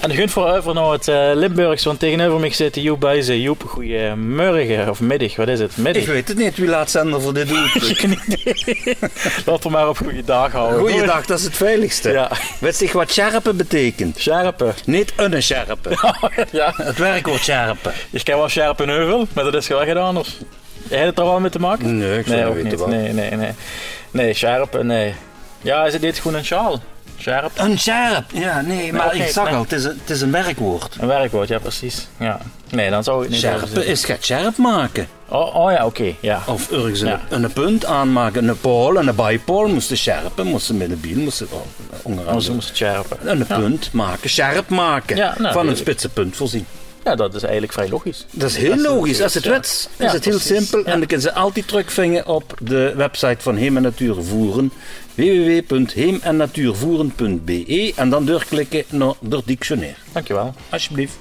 En de gunt voor over nou het eh, Limburgs, want tegenover me zit Joep Buizen. Joep, goeiemorgen of middag, wat is het? Ik Middag. weet het niet wie laatst voor dit doet. Geen idee. Laten we maar op goede dag houden. Goeiedag, dat is het veiligste. Ja, Weet zich wat scherpen betekent? scherpen. Niet een scherpen. ja. Het werkwoord scherpen. Ik ken wel scherpen heuvel, maar dat is wel gedaan. Of... Jij het er wel mee te maken? Nee, ik Nee, zou ook weten niet. wat. Nee, nee, nee. Nee, scherpen, nee. Ja, is het dit gewoon een sjaal? Scherp. Een scherp? Ja, nee, maar oké, ik zag nee. al, het is, een, het is een werkwoord. Een werkwoord, ja precies. Ja. Nee, dan zou ik niet Scherpen hebben. is gaat scherp maken. Oh, oh ja, oké. ja. Of ergens een, Ja. een punt aanmaken, een pool en een bijpool moesten scherpen, moesten met een biel, moesten oh, Anders onder andere. moest het scherpen. En een punt maken, scherp maken. Ja, nou, van een tuurlijk. spitse punt voorzien. Ja, dat is eigenlijk vrij logisch. Dat is heel logisch. Als het ja. wet is, Ja, het heel precies. simpel. Ja. En dan kunnen ze altijd terugvingen op de website van Heem en Natuur Voeren. www.heemennatuurvoeren.be En dan doorklikken naar de dictionair. Dankjewel. Alsjeblieft.